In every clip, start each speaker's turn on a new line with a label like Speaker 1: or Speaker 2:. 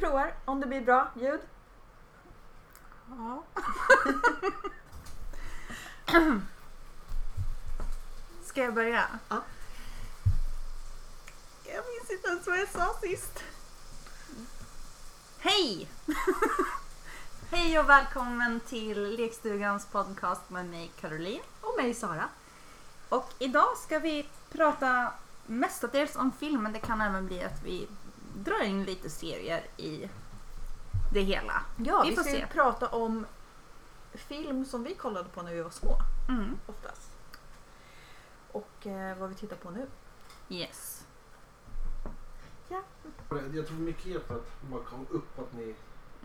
Speaker 1: provar om det blir bra ljud.
Speaker 2: Ja. Ska jag börja?
Speaker 1: Ja.
Speaker 2: Jag minns inte ens vad jag sa sist. Hej! Hej och välkommen till Lekstugans podcast med mig Caroline.
Speaker 1: Och mig Sara.
Speaker 2: Och idag ska vi prata mestadels om film, men det kan även bli att vi drar in lite serier i det hela.
Speaker 1: Ja,
Speaker 2: Vi
Speaker 1: vi,
Speaker 2: får
Speaker 1: ska ju
Speaker 2: se.
Speaker 1: prata om film som vi kollade på när vi var små
Speaker 2: Mm.
Speaker 1: oftast. Och eh, vad vi tittar på nu.
Speaker 2: Yes.
Speaker 3: Jag tror mycket är för att man kom upp att ni är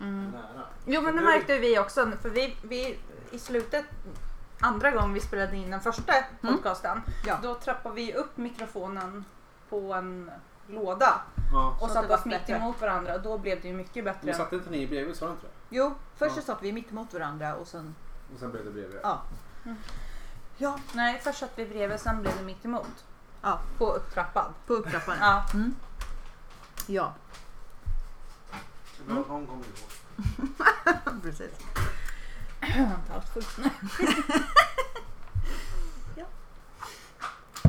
Speaker 2: Mm.
Speaker 3: nära.
Speaker 2: Jo men det
Speaker 3: Det-
Speaker 2: märkte vi också för vi, vi i slutet andra gången vi spelade in den första podcasten
Speaker 1: Mm. Ja.
Speaker 2: då trappade vi upp mikrofonen på en låda
Speaker 3: Ja.
Speaker 2: och
Speaker 1: det
Speaker 2: satte
Speaker 1: var
Speaker 2: oss mitt
Speaker 1: bättre.
Speaker 2: emot varandra och då blev det ju mycket
Speaker 3: Men
Speaker 2: bättre.
Speaker 3: satte inte ni bredvid? Sa du inte det?
Speaker 1: Jo, först
Speaker 3: Ja.
Speaker 1: så satt vi mitt emot varandra och sen...
Speaker 3: Och sen blev det bredvid.
Speaker 1: Ja. Mm. Ja,
Speaker 2: Nej först satt vi bredvid sen blev det mitt emot.
Speaker 1: Ja.
Speaker 2: På upptrappan.
Speaker 1: på upptrappan. ja.
Speaker 2: Ja.
Speaker 1: ja,
Speaker 3: Bra, de kom ihåg.
Speaker 1: precis.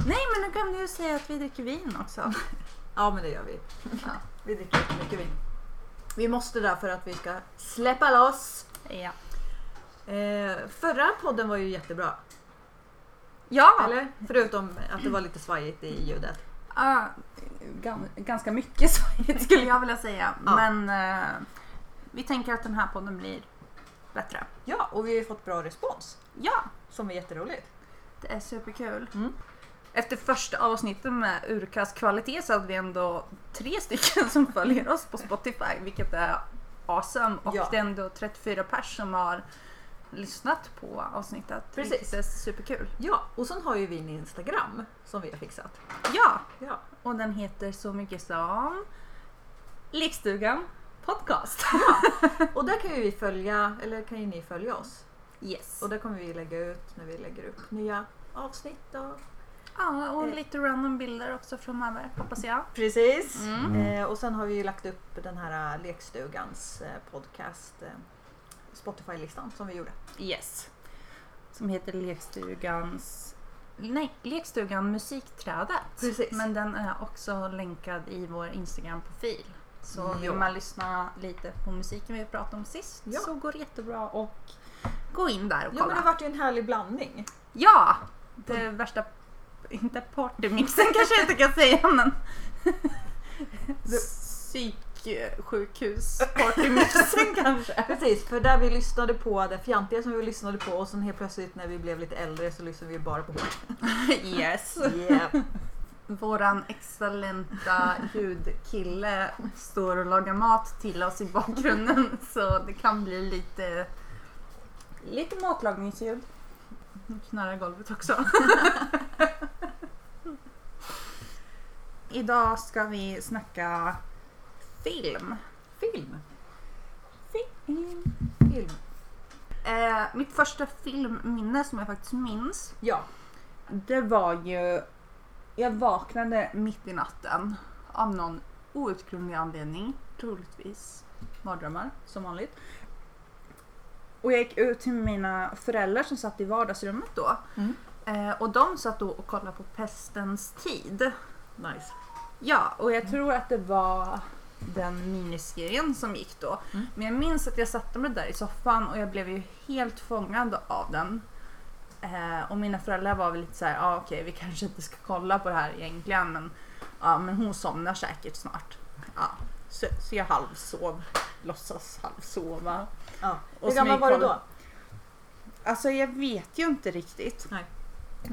Speaker 2: Nej men nu kan du ju säga att vi dricker vin också.
Speaker 1: Ja, men det gör vi.
Speaker 2: Ja.
Speaker 1: Vi dricker mycket vin. Vi måste därför att vi ska släppa loss.
Speaker 2: Ja.
Speaker 1: Eh, förra podden var ju jättebra.
Speaker 2: Ja!
Speaker 1: Eller? Förutom att det var lite svajigt i ljudet.
Speaker 2: Ah, gan- ganska mycket svajigt skulle jag vilja säga.
Speaker 1: Ja.
Speaker 2: Men eh, vi tänker att den här podden blir bättre.
Speaker 1: Ja, och vi har ju fått bra respons.
Speaker 2: Ja,
Speaker 1: Som är jätteroligt.
Speaker 2: det är superkul.
Speaker 1: Mm.
Speaker 2: Efter första avsnittet med urkastkvalitet så hade vi ändå tre stycken som följer oss på Spotify, vilket är awesome. Och
Speaker 1: Ja.
Speaker 2: det är ändå 34 pers som har lyssnat på avsnittet.
Speaker 1: Precis.
Speaker 2: vilket är superkul.
Speaker 1: Ja, och sen har ju vi en Instagram som vi har fixat.
Speaker 2: Ja,
Speaker 1: Ja.
Speaker 2: och den heter så mycket som Lekstugan Podcast.
Speaker 1: Och där kan ju vi följa, eller kan ju ni följa oss.
Speaker 2: Yes.
Speaker 1: Och där kommer vi lägga ut när vi lägger upp nya avsnitt. Och...
Speaker 2: Ja, och
Speaker 1: Eh.
Speaker 2: lite random bilder också framöver hoppas jag.
Speaker 1: Precis.
Speaker 2: Mm.
Speaker 1: Eh, och sen har vi ju lagt upp den här eh, lekstugans eh, podcast eh, Spotify-listan som vi gjorde.
Speaker 2: Yes. Som heter Lekstugans... Nej, Lekstugan Musikträdet.
Speaker 1: Precis.
Speaker 2: Men den är också länkad i vår Instagram-profil. Så vill
Speaker 1: Ja.
Speaker 2: man lyssna lite på musiken vi pratade om sist
Speaker 1: Ja.
Speaker 2: så går det jättebra och gå in där och
Speaker 1: Ja,
Speaker 2: kolla.
Speaker 1: men det vart ju en härlig blandning.
Speaker 2: Ja! Det värsta... Inte partymixen kanske jag inte kan säga men... Psyksjukhus-partymixen kanske.
Speaker 1: Precis, för där vi lyssnade på det fjantiga som vi lyssnade på och sen helt plötsligt när vi blev lite äldre så lyssnade vi bara på hårt.
Speaker 2: Yes.
Speaker 1: Yeah.
Speaker 2: Våran excellenta ljudkille står och lagar mat till oss i bakgrunden så det kan bli lite, lite matlagningsljud. Nu knarrar golvet också. Idag ska vi snacka film.
Speaker 1: Film.
Speaker 2: film.
Speaker 1: Film.
Speaker 2: Eh, mitt första filmminne som jag faktiskt minns
Speaker 1: Ja.
Speaker 2: Det var ju... Jag vaknade mitt i natten av någon outgrundlig anledning. Troligtvis mardrömmar, som vanligt. Och jag gick ut till mina föräldrar som satt i vardagsrummet då.
Speaker 1: Mm.
Speaker 2: Eh, och de satt då och kollade på Pestens tid.
Speaker 1: Nice.
Speaker 2: Ja, och jag tror att det var den miniserien som gick då.
Speaker 1: Mm.
Speaker 2: Men jag minns att jag satte mig där i soffan och jag blev ju helt fångad av den. Eh, och mina föräldrar var väl lite så här, ja ah, okej vi kanske inte ska kolla på det här egentligen men, ja, men hon somnar säkert snart. Ja. Så, så jag halvsov, låtsas halvsova.
Speaker 1: Ja.
Speaker 2: Och
Speaker 1: Hur gammal var du då?
Speaker 2: smygkoll. Alltså jag vet ju inte riktigt.
Speaker 1: Nej.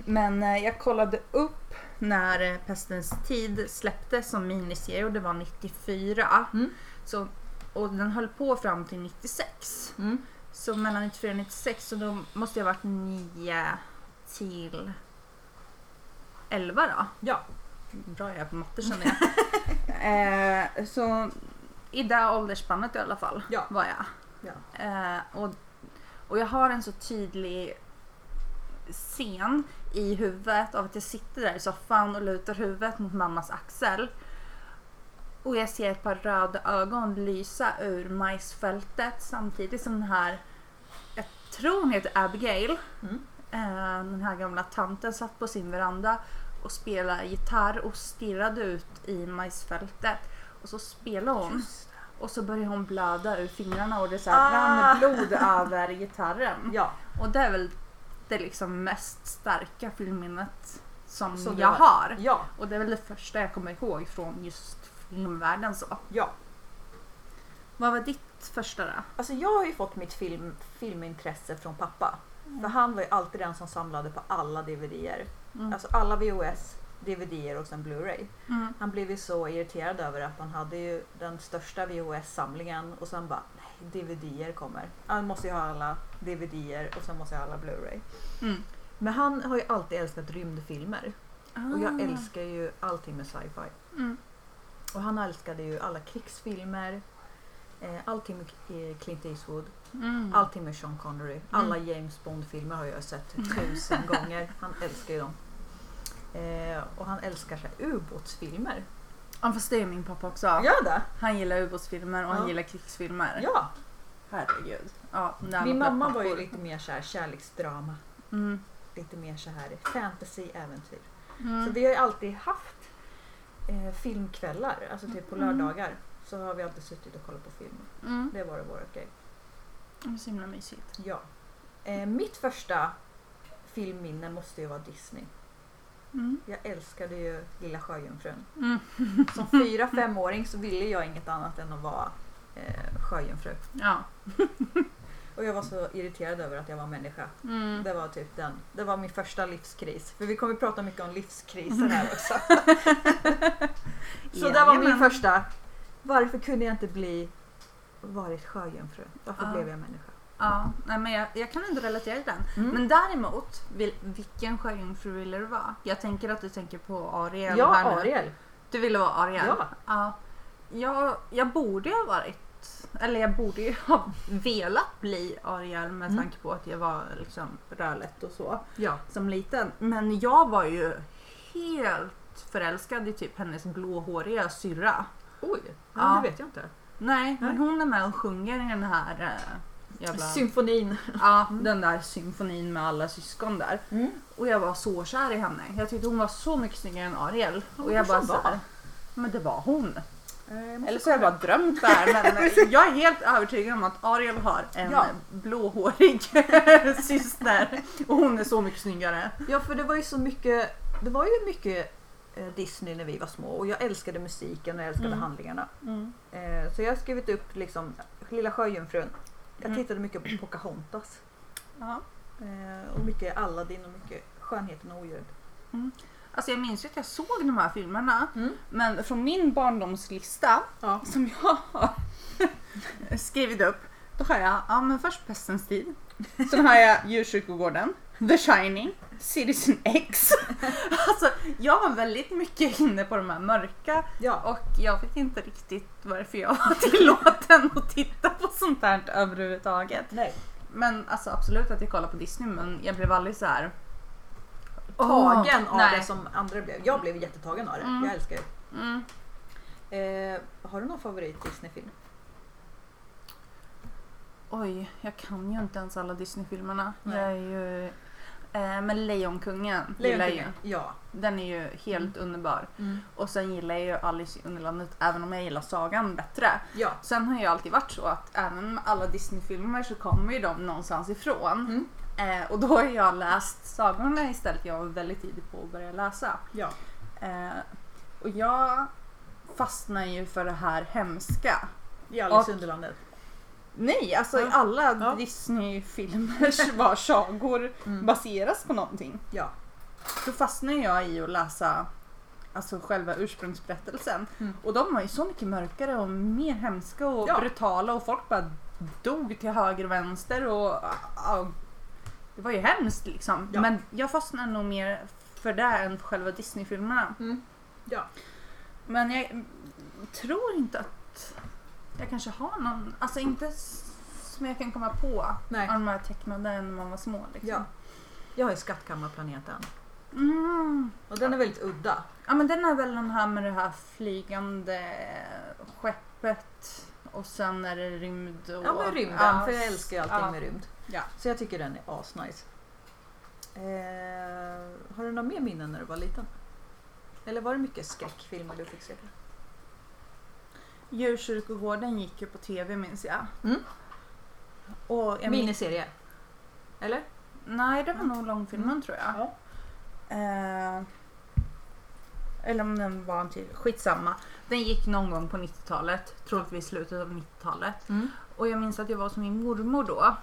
Speaker 2: Men eh, jag kollade upp när eh, Pestens tid släpptes som miniserie och det var 94.
Speaker 1: Mm.
Speaker 2: Så, och den höll på fram till 96.
Speaker 1: Mm.
Speaker 2: Så mellan 94 och 96 så då måste jag ha varit 9 till 11 då.
Speaker 1: Ja.
Speaker 2: Bra jag är på matte känner jag. eh, så i det åldersspannet i alla fall
Speaker 1: Ja.
Speaker 2: var jag.
Speaker 1: Ja.
Speaker 2: Eh, och, och jag har en så tydlig scen i huvudet av att jag sitter där i soffan och lutar huvudet mot mammas axel. Och jag ser ett par röda ögon lysa ur majsfältet samtidigt som den här, jag tror hon heter Abigail,
Speaker 1: Mm.
Speaker 2: eh, den här gamla tanten satt på sin veranda och spelade gitarr och stirrade ut i majsfältet. Och så spelar hon
Speaker 1: Just det. Ah.
Speaker 2: och så börjar hon blöda ur fingrarna och det så här rann blod över gitarren.
Speaker 1: Mm. Ja,
Speaker 2: Och det är väl det liksom mest starka filmminnet som,
Speaker 1: Som du
Speaker 2: jag
Speaker 1: har.
Speaker 2: har.
Speaker 1: ja,
Speaker 2: Och det är väl det första jag kommer ihåg från just filmvärlden så.
Speaker 1: ja.
Speaker 2: Vad var ditt första då?
Speaker 1: Alltså jag har ju fått mitt film, filmintresse från pappa. För han var ju alltid den som samlade på alla DVDer.
Speaker 2: Mm.
Speaker 1: Alltså alla VHS, DVDer och sen Blu-ray.
Speaker 2: Mm.
Speaker 1: Han blev ju så irriterad över att man hade ju den största VHS-samlingen och sen bara nej, DVDer kommer. Han måste ju ha alla DVDer och sen måste jag ha alla Blu-ray.
Speaker 2: Mm.
Speaker 1: Men han har ju alltid älskat rymdfilmer och jag älskar ju allting med sci-fi.
Speaker 2: Ah. Mm.
Speaker 1: Och han älskade ju alla krigsfilmer, eh, allting med eh, Clint Eastwood,
Speaker 2: Mm.
Speaker 1: allting med Sean Connery. Alla James Bond-filmer har jag sett tusen gånger. Han älskar ju dem. Eh, och han älskar så här, ubåtsfilmer.
Speaker 2: Ja fast det är min pappa också.
Speaker 1: Gör det?
Speaker 2: Han gillar ubåtsfilmer och
Speaker 1: Ja.
Speaker 2: han gillar krigsfilmer.
Speaker 1: Ja!
Speaker 2: Herregud. Ja, när
Speaker 1: Min
Speaker 2: alla
Speaker 1: mamma var ju
Speaker 2: pappor.
Speaker 1: lite mer så här kärleksdrama,
Speaker 2: Mm.
Speaker 1: lite mer så här fantasy-äventyr. Så
Speaker 2: Mm.
Speaker 1: vi har ju alltid haft eh, filmkvällar, alltså typ på lördagar. Så har vi alltid suttit och kollat på film.
Speaker 2: Mm.
Speaker 1: Det var det vår grej.
Speaker 2: Det är så himla mysigt.
Speaker 1: Ja. Eh, mitt första filmminne måste ju vara Disney.
Speaker 2: Mm.
Speaker 1: Jag älskade ju Lilla Sjöjungfrun.
Speaker 2: Mm.
Speaker 1: Som fyra femåring så ville jag inget annat än att vara eh, sjöjungfru.
Speaker 2: Ja.
Speaker 1: Och jag var så irriterad över att jag var människa.
Speaker 2: Mm.
Speaker 1: Det var typ den. Det var min första livskris. För vi kommer att prata mycket om livskriser här också. Så det var min
Speaker 2: Jajamän.
Speaker 1: första. Varför kunde jag inte bli varit sjöjungfru? Varför
Speaker 2: Ja.
Speaker 1: blev jag människa?
Speaker 2: Ja, nej, men jag, jag kan ändå relatera till den.
Speaker 1: Mm.
Speaker 2: Men däremot, vil, vilken sjöjungfru ville du vara? Jag tänker att du tänker på Ariel
Speaker 1: ja,
Speaker 2: här nu.
Speaker 1: Ariel.
Speaker 2: Du ville vara Ariel?
Speaker 1: Ja.
Speaker 2: ja. Jag, jag borde ju ha varit, eller jag borde ju ha velat bli Ariel med
Speaker 1: Mm.
Speaker 2: tanke på att jag var liksom rödlätt och så
Speaker 1: Ja.
Speaker 2: som liten. Men jag var ju helt förälskad i typ hennes blåhåriga syrra.
Speaker 1: Oj, ja,
Speaker 2: Ja.
Speaker 1: det vet jag inte.
Speaker 2: Nej, men
Speaker 1: Nej.
Speaker 2: hon är med och sjunger i den här eh, jävla...
Speaker 1: Symfonin.
Speaker 2: ja, den där symfonin med alla syskon där.
Speaker 1: Mm.
Speaker 2: Och jag var så kär i henne. Jag tyckte hon var så mycket snyggare än Ariel.
Speaker 1: Ja,
Speaker 2: och jag
Speaker 1: kanske
Speaker 2: bara
Speaker 1: hon
Speaker 2: så
Speaker 1: var.
Speaker 2: här, men det var hon. Eller
Speaker 1: Eller
Speaker 2: så har jag bara drömt det här. Men jag är helt övertygad om att Ariel har en
Speaker 1: Ja.
Speaker 2: blåhårig syster. Och hon är så mycket snyggare.
Speaker 1: Ja, för det var ju så mycket, det var ju mycket eh, Disney när vi var små och jag älskade musiken och jag älskade
Speaker 2: Mm.
Speaker 1: handlingarna.
Speaker 2: Mm.
Speaker 1: Eh, så jag har skrivit upp liksom Lilla Sjöjungfrun. Jag
Speaker 2: Mm.
Speaker 1: tittade mycket på Pocahontas.
Speaker 2: Ja.
Speaker 1: Eh, och mycket Aladdin och mycket Skönheten och odjuret.
Speaker 2: Alltså jag minns ju att jag såg de här filmerna.
Speaker 1: Mm.
Speaker 2: Men från min barndomslista
Speaker 1: Ja.
Speaker 2: som jag har skrivit upp. Då har jag ja, men först Pestens tid. Sen har jag Djurkyrkogården, The Shining, Citizen X. Alltså, jag var väldigt mycket inne på de här mörka
Speaker 1: Ja.
Speaker 2: och jag vet inte riktigt varför jag var tillåten att titta på sånt här överhuvudtaget.
Speaker 1: Nej.
Speaker 2: Men alltså absolut att jag kollar på Disney men jag blev aldrig så här.
Speaker 1: Tagen
Speaker 2: Åh,
Speaker 1: av
Speaker 2: nej.
Speaker 1: det som andra blev. Jag blev jättetagen av det.
Speaker 2: Mm.
Speaker 1: Jag älskar det.
Speaker 2: Mm.
Speaker 1: Eh, har du någon favorit Disney-film?
Speaker 2: Oj, jag kan ju inte ens alla Disney-filmerna.
Speaker 1: Nej.
Speaker 2: Jag är ju... Eh, men Lejonkungen Mm. gillar jag ju.
Speaker 1: Lejonkungen? Ja.
Speaker 2: Den är ju helt underbar. Och sen gillar jag ju Alice i Underlandet även om jag gillar sagan bättre.
Speaker 1: Ja.
Speaker 2: Sen har jag alltid varit så att även med alla Disney-filmer så kommer ju de någonstans ifrån. Eh, och då har jag läst sagorna istället. Jag var väldigt tidig på att börja läsa.
Speaker 1: ja.
Speaker 2: Eh, och jag fastnar ju för det här hemska.
Speaker 1: I Alice
Speaker 2: Och-
Speaker 1: i Underlandet.
Speaker 2: Nej, alltså
Speaker 1: Ja.
Speaker 2: alla
Speaker 1: Ja.
Speaker 2: Disney-filmer var sagor
Speaker 1: Mm.
Speaker 2: baseras på någonting.
Speaker 1: Ja.
Speaker 2: Då fastnar jag i att läsa alltså själva ursprungsberättelsen.
Speaker 1: Mm.
Speaker 2: Och de var ju så mycket mörkare och mer hemska och
Speaker 1: Ja.
Speaker 2: brutala och folk bara dog till höger och vänster och ja, det var ju hemskt liksom.
Speaker 1: Ja.
Speaker 2: Men jag fastnar nog mer för det än för själva Disney-filmerna.
Speaker 1: Mm, Ja.
Speaker 2: Men jag tror inte att jag kanske har någon, alltså inte s- som jag kan komma på
Speaker 1: Nej.
Speaker 2: av de här tecknade när man var små. Liksom.
Speaker 1: Ja. Jag har ju Skattkammarplaneten.
Speaker 2: Mm.
Speaker 1: Och den är väldigt udda.
Speaker 2: Ja men den är väl den här med det här flygande skeppet och sen är det rymd och...
Speaker 1: Ja men rymden,
Speaker 2: Ja,
Speaker 1: för jag älskar ju allting
Speaker 2: ja.
Speaker 1: med rymd.
Speaker 2: Ja.
Speaker 1: Så jag tycker den är asnice. Eh, har du några mer minnen när du var liten? Eller var det mycket skräckfilmer du fick se?
Speaker 2: Djurkyrkogården gick ju på tv minns jag.
Speaker 1: Mm.
Speaker 2: Och jag minns-
Speaker 1: Miniserie? Eller?
Speaker 2: Nej, det var
Speaker 1: Mm.
Speaker 2: nog långfilmen
Speaker 1: Mm.
Speaker 2: tror jag. Eh, eller om den var en till. Skitsamma. Den gick någon gång på 90-talet. Troligtvis slutet av 90-talet.
Speaker 1: Mm.
Speaker 2: Och jag minns att jag var hos min mormor då.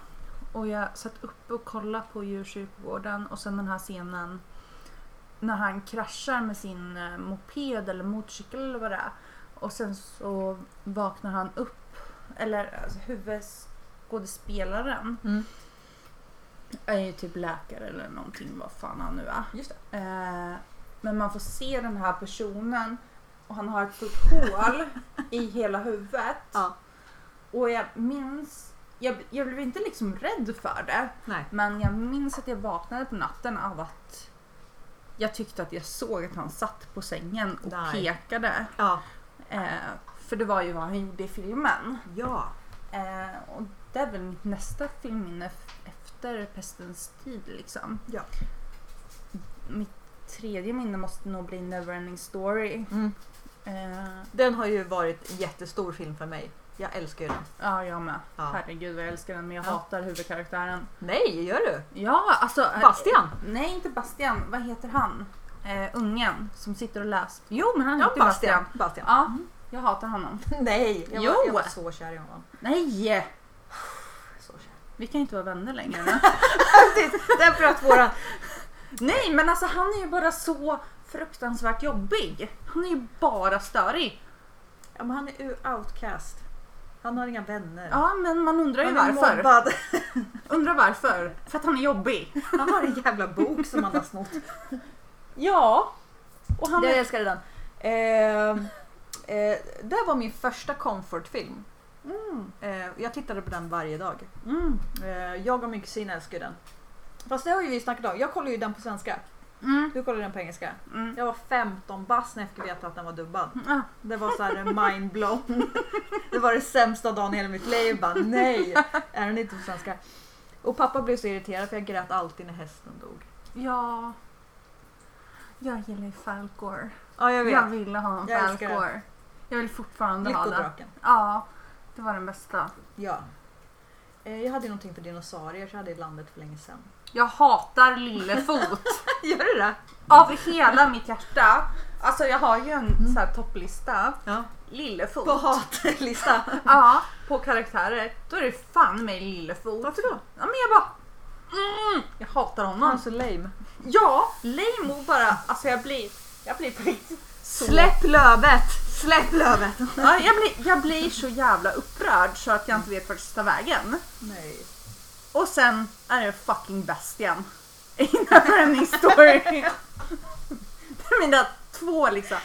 Speaker 2: Och jag satt uppe och kollade på djurkyrkogården och sen den här scenen när han kraschar med sin eh, moped eller motorcykel eller vad det är. Och sen så vaknar han upp, eller alltså, huvudskådespelaren
Speaker 1: Mm.
Speaker 2: är ju typ läkare eller någonting vad fan han nu är.
Speaker 1: Just det.
Speaker 2: Eh, men man får se den här personen och han har ett stort hål i hela huvudet.
Speaker 1: Ja.
Speaker 2: Och jag minns, jag, jag blev inte liksom rädd för det,
Speaker 1: Nej.
Speaker 2: men jag minns att jag vaknade på natten av att jag tyckte att jag såg att han satt på sängen och
Speaker 1: Nej.
Speaker 2: pekade.
Speaker 1: Ja.
Speaker 2: Eh, för det var ju vad han gjorde i filmen.
Speaker 1: Ja.
Speaker 2: Eh, och det är väl mitt nästa filmminne f- efter Pestens tid liksom.
Speaker 1: Ja.
Speaker 2: Mitt tredje minne måste nog bli Neverending Story.
Speaker 1: Mm.
Speaker 2: Eh,
Speaker 1: Den har ju varit en jättestor film för mig. Jag älskar ju den.
Speaker 2: ja, jag med.
Speaker 1: Ja.
Speaker 2: Herregud vad jag älskar den men jag
Speaker 1: Ja.
Speaker 2: hatar huvudkaraktären.
Speaker 1: Nej, gör du?
Speaker 2: Ja, alltså. eh,
Speaker 1: Bastian!
Speaker 2: Nej, inte Bastian. Vad heter han? Eh, ungen som sitter och läser. Jo, men han
Speaker 1: Ja,
Speaker 2: heter Bastian.
Speaker 1: Bastian. Mm. Bastian.
Speaker 2: Ja, jag hatar honom.
Speaker 1: Nej, jag
Speaker 2: Jo.
Speaker 1: var, jag var så kär i honom.
Speaker 2: Nej!
Speaker 1: Så kär.
Speaker 2: Vi kan inte vara vänner längre.
Speaker 1: Därför att våra...
Speaker 2: Nej, men alltså han är ju bara så fruktansvärt jobbig. Han är ju bara störig.
Speaker 1: Ja, men han är ju outcast. Han har inga vänner.
Speaker 2: Ja, men man undrar ju
Speaker 1: han är
Speaker 2: varför.
Speaker 1: mobbad.
Speaker 2: Undrar varför. För att han är jobbig.
Speaker 1: Han har en jävla bok som han har snott.
Speaker 2: Ja. Och han
Speaker 1: Jag
Speaker 2: är...
Speaker 1: älskade den. Eh, eh, det var min första comfortfilm.
Speaker 2: Mm,
Speaker 1: Eh, jag tittade på den varje dag.
Speaker 2: mm,
Speaker 1: Eh, jag och min kusin älskar ju den. Fast det har ju vi snackat om. Jag kollar ju den på svenska.
Speaker 2: mm,
Speaker 1: Du kollar den på engelska.
Speaker 2: mm.
Speaker 1: Jag var 15 bass när jag fick veta att den var dubbad.
Speaker 2: Ah,
Speaker 1: Det var så här mind blown. Det var det sämsta dagen i hela mitt liv. Jag bara nej, är den inte på svenska? Och pappa blev så irriterad för jag grät alltid när hästen dog.
Speaker 2: ja. Jag gillar ju Falcor.
Speaker 1: Ja, jag
Speaker 2: Jag
Speaker 1: vet.
Speaker 2: ville ha en
Speaker 1: Jag älskar
Speaker 2: Falcor. Jag vill fortfarande ha den.
Speaker 1: Lyckodraken.
Speaker 2: Ja, det var den bästa.
Speaker 1: Ja. Eh, Jag hade ju någonting för dinosaurier så jag hade jag landet för länge sedan.
Speaker 2: Jag hatar Lillefot
Speaker 1: Gör du det?
Speaker 2: av hela mitt hjärta. Alltså jag har ju en så här topplista.
Speaker 1: Mm. Ja.
Speaker 2: Lillefot.
Speaker 1: På hatlista.
Speaker 2: Ja, på karaktärer. Då är det fan mig Lillefot.
Speaker 1: Varför då?
Speaker 2: Ja men jag bara... Mm, jag hatar
Speaker 1: Han är
Speaker 2: honom.
Speaker 1: så lame.
Speaker 2: Ja, lame och bara... Alltså jag blir... Jag blir på riktigt så...
Speaker 1: Släpp lövet! Släpp lövet!
Speaker 2: Ja, jag, blir, jag blir så jävla upprörd så att jag inte vet vart jag ska ta vägen.
Speaker 1: Nej.
Speaker 2: Och sen är det fucking Bastian. I Neverending Story. Det är mina två liksom.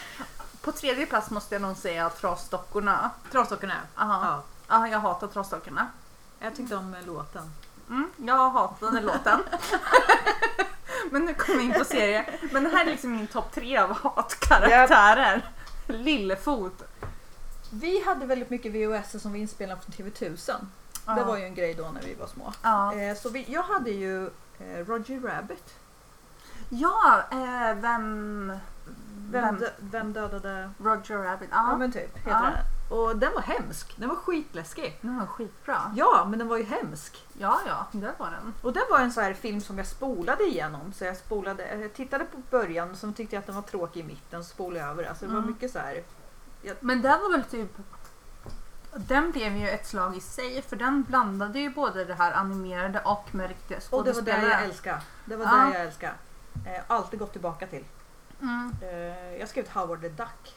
Speaker 2: På tredje plats måste jag nog säga trasdockorna.
Speaker 1: Trasdockorna
Speaker 2: Aha.
Speaker 1: ja.
Speaker 2: Ja, jag hatar trasdockorna.
Speaker 1: Jag tyckte om eh, låten.
Speaker 2: Mm, jag hatar den här låten. Men nu kommer jag in på serier. Men det här är liksom min topp tre av hatkaraktärer. Lillefot.
Speaker 1: Vi hade väldigt mycket VHS som vi inspelade från TV1000. Det
Speaker 2: Ja.
Speaker 1: var ju en grej då när vi var små.
Speaker 2: Ja,
Speaker 1: Eh, Så vi, jag hade ju eh, Roger Rabbit.
Speaker 2: ja eh, vem...
Speaker 1: Mm. Vem, dö- vem dödade...
Speaker 2: Roger Rabbit.
Speaker 1: Ja.
Speaker 2: Ja,
Speaker 1: men typ heter
Speaker 2: Ja.
Speaker 1: den. Och den var hemsk. Den var skitläskig.
Speaker 2: den var skitbra.
Speaker 1: Ja, men den var ju hemsk.
Speaker 2: Ja, ja, det var den.
Speaker 1: Och det var en sån här film som jag spolade igenom. Så jag spolade, eh, tittade på början, sen tyckte jag att den var tråkig i mitten, så spolade jag över. Alltså det var
Speaker 2: Mm.
Speaker 1: mycket så här...
Speaker 2: Men den var väl typ... Den blev ju ett slag i sig för den blandade ju både det här animerade och med riktiga
Speaker 1: Och det var det jag
Speaker 2: skådespelare.
Speaker 1: älskade. Det var
Speaker 2: Ja.
Speaker 1: det jag älskade. Eh, Alltid gått tillbaka till.
Speaker 2: Mm,
Speaker 1: Eh, Jag skrev ut Howard the Duck.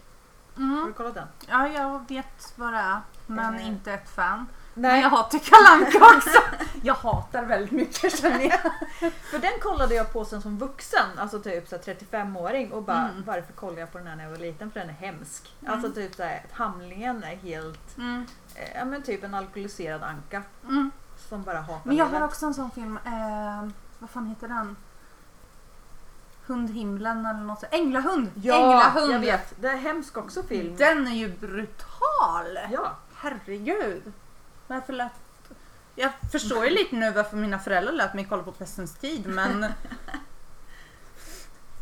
Speaker 1: Har du
Speaker 2: mm.
Speaker 1: kollat den?
Speaker 2: Ja, jag vet vad det är. Men
Speaker 1: Eh.
Speaker 2: inte ett fan. Men
Speaker 1: Nej,
Speaker 2: jag hatar Kalle Anka också. Jag hatar väldigt mycket känner jag.
Speaker 1: för den kollade jag på sen som vuxen, alltså typ så här 35-åring och bara
Speaker 2: Mm.
Speaker 1: varför kollade jag på den här när jag var liten för den är hemsk.
Speaker 2: Mm.
Speaker 1: Alltså typ så här, att handlingen är helt,
Speaker 2: Mm,
Speaker 1: eh, ja men typ en alkoholiserad anka
Speaker 2: mm.
Speaker 1: som bara hatar
Speaker 2: Men jag
Speaker 1: livet.
Speaker 2: har också en sån film. Eh, vad fan heter den? Hundhimlen eller något så. Änglahund!
Speaker 1: Änglahund! Jag
Speaker 2: Änglahund!
Speaker 1: vet. Det är hemsk också film.
Speaker 2: Den är ju brutal!
Speaker 1: Ja.
Speaker 2: Herregud! Varför lät... Jag förstår ju lite nu varför mina föräldrar lät mig kolla på Pestens tid men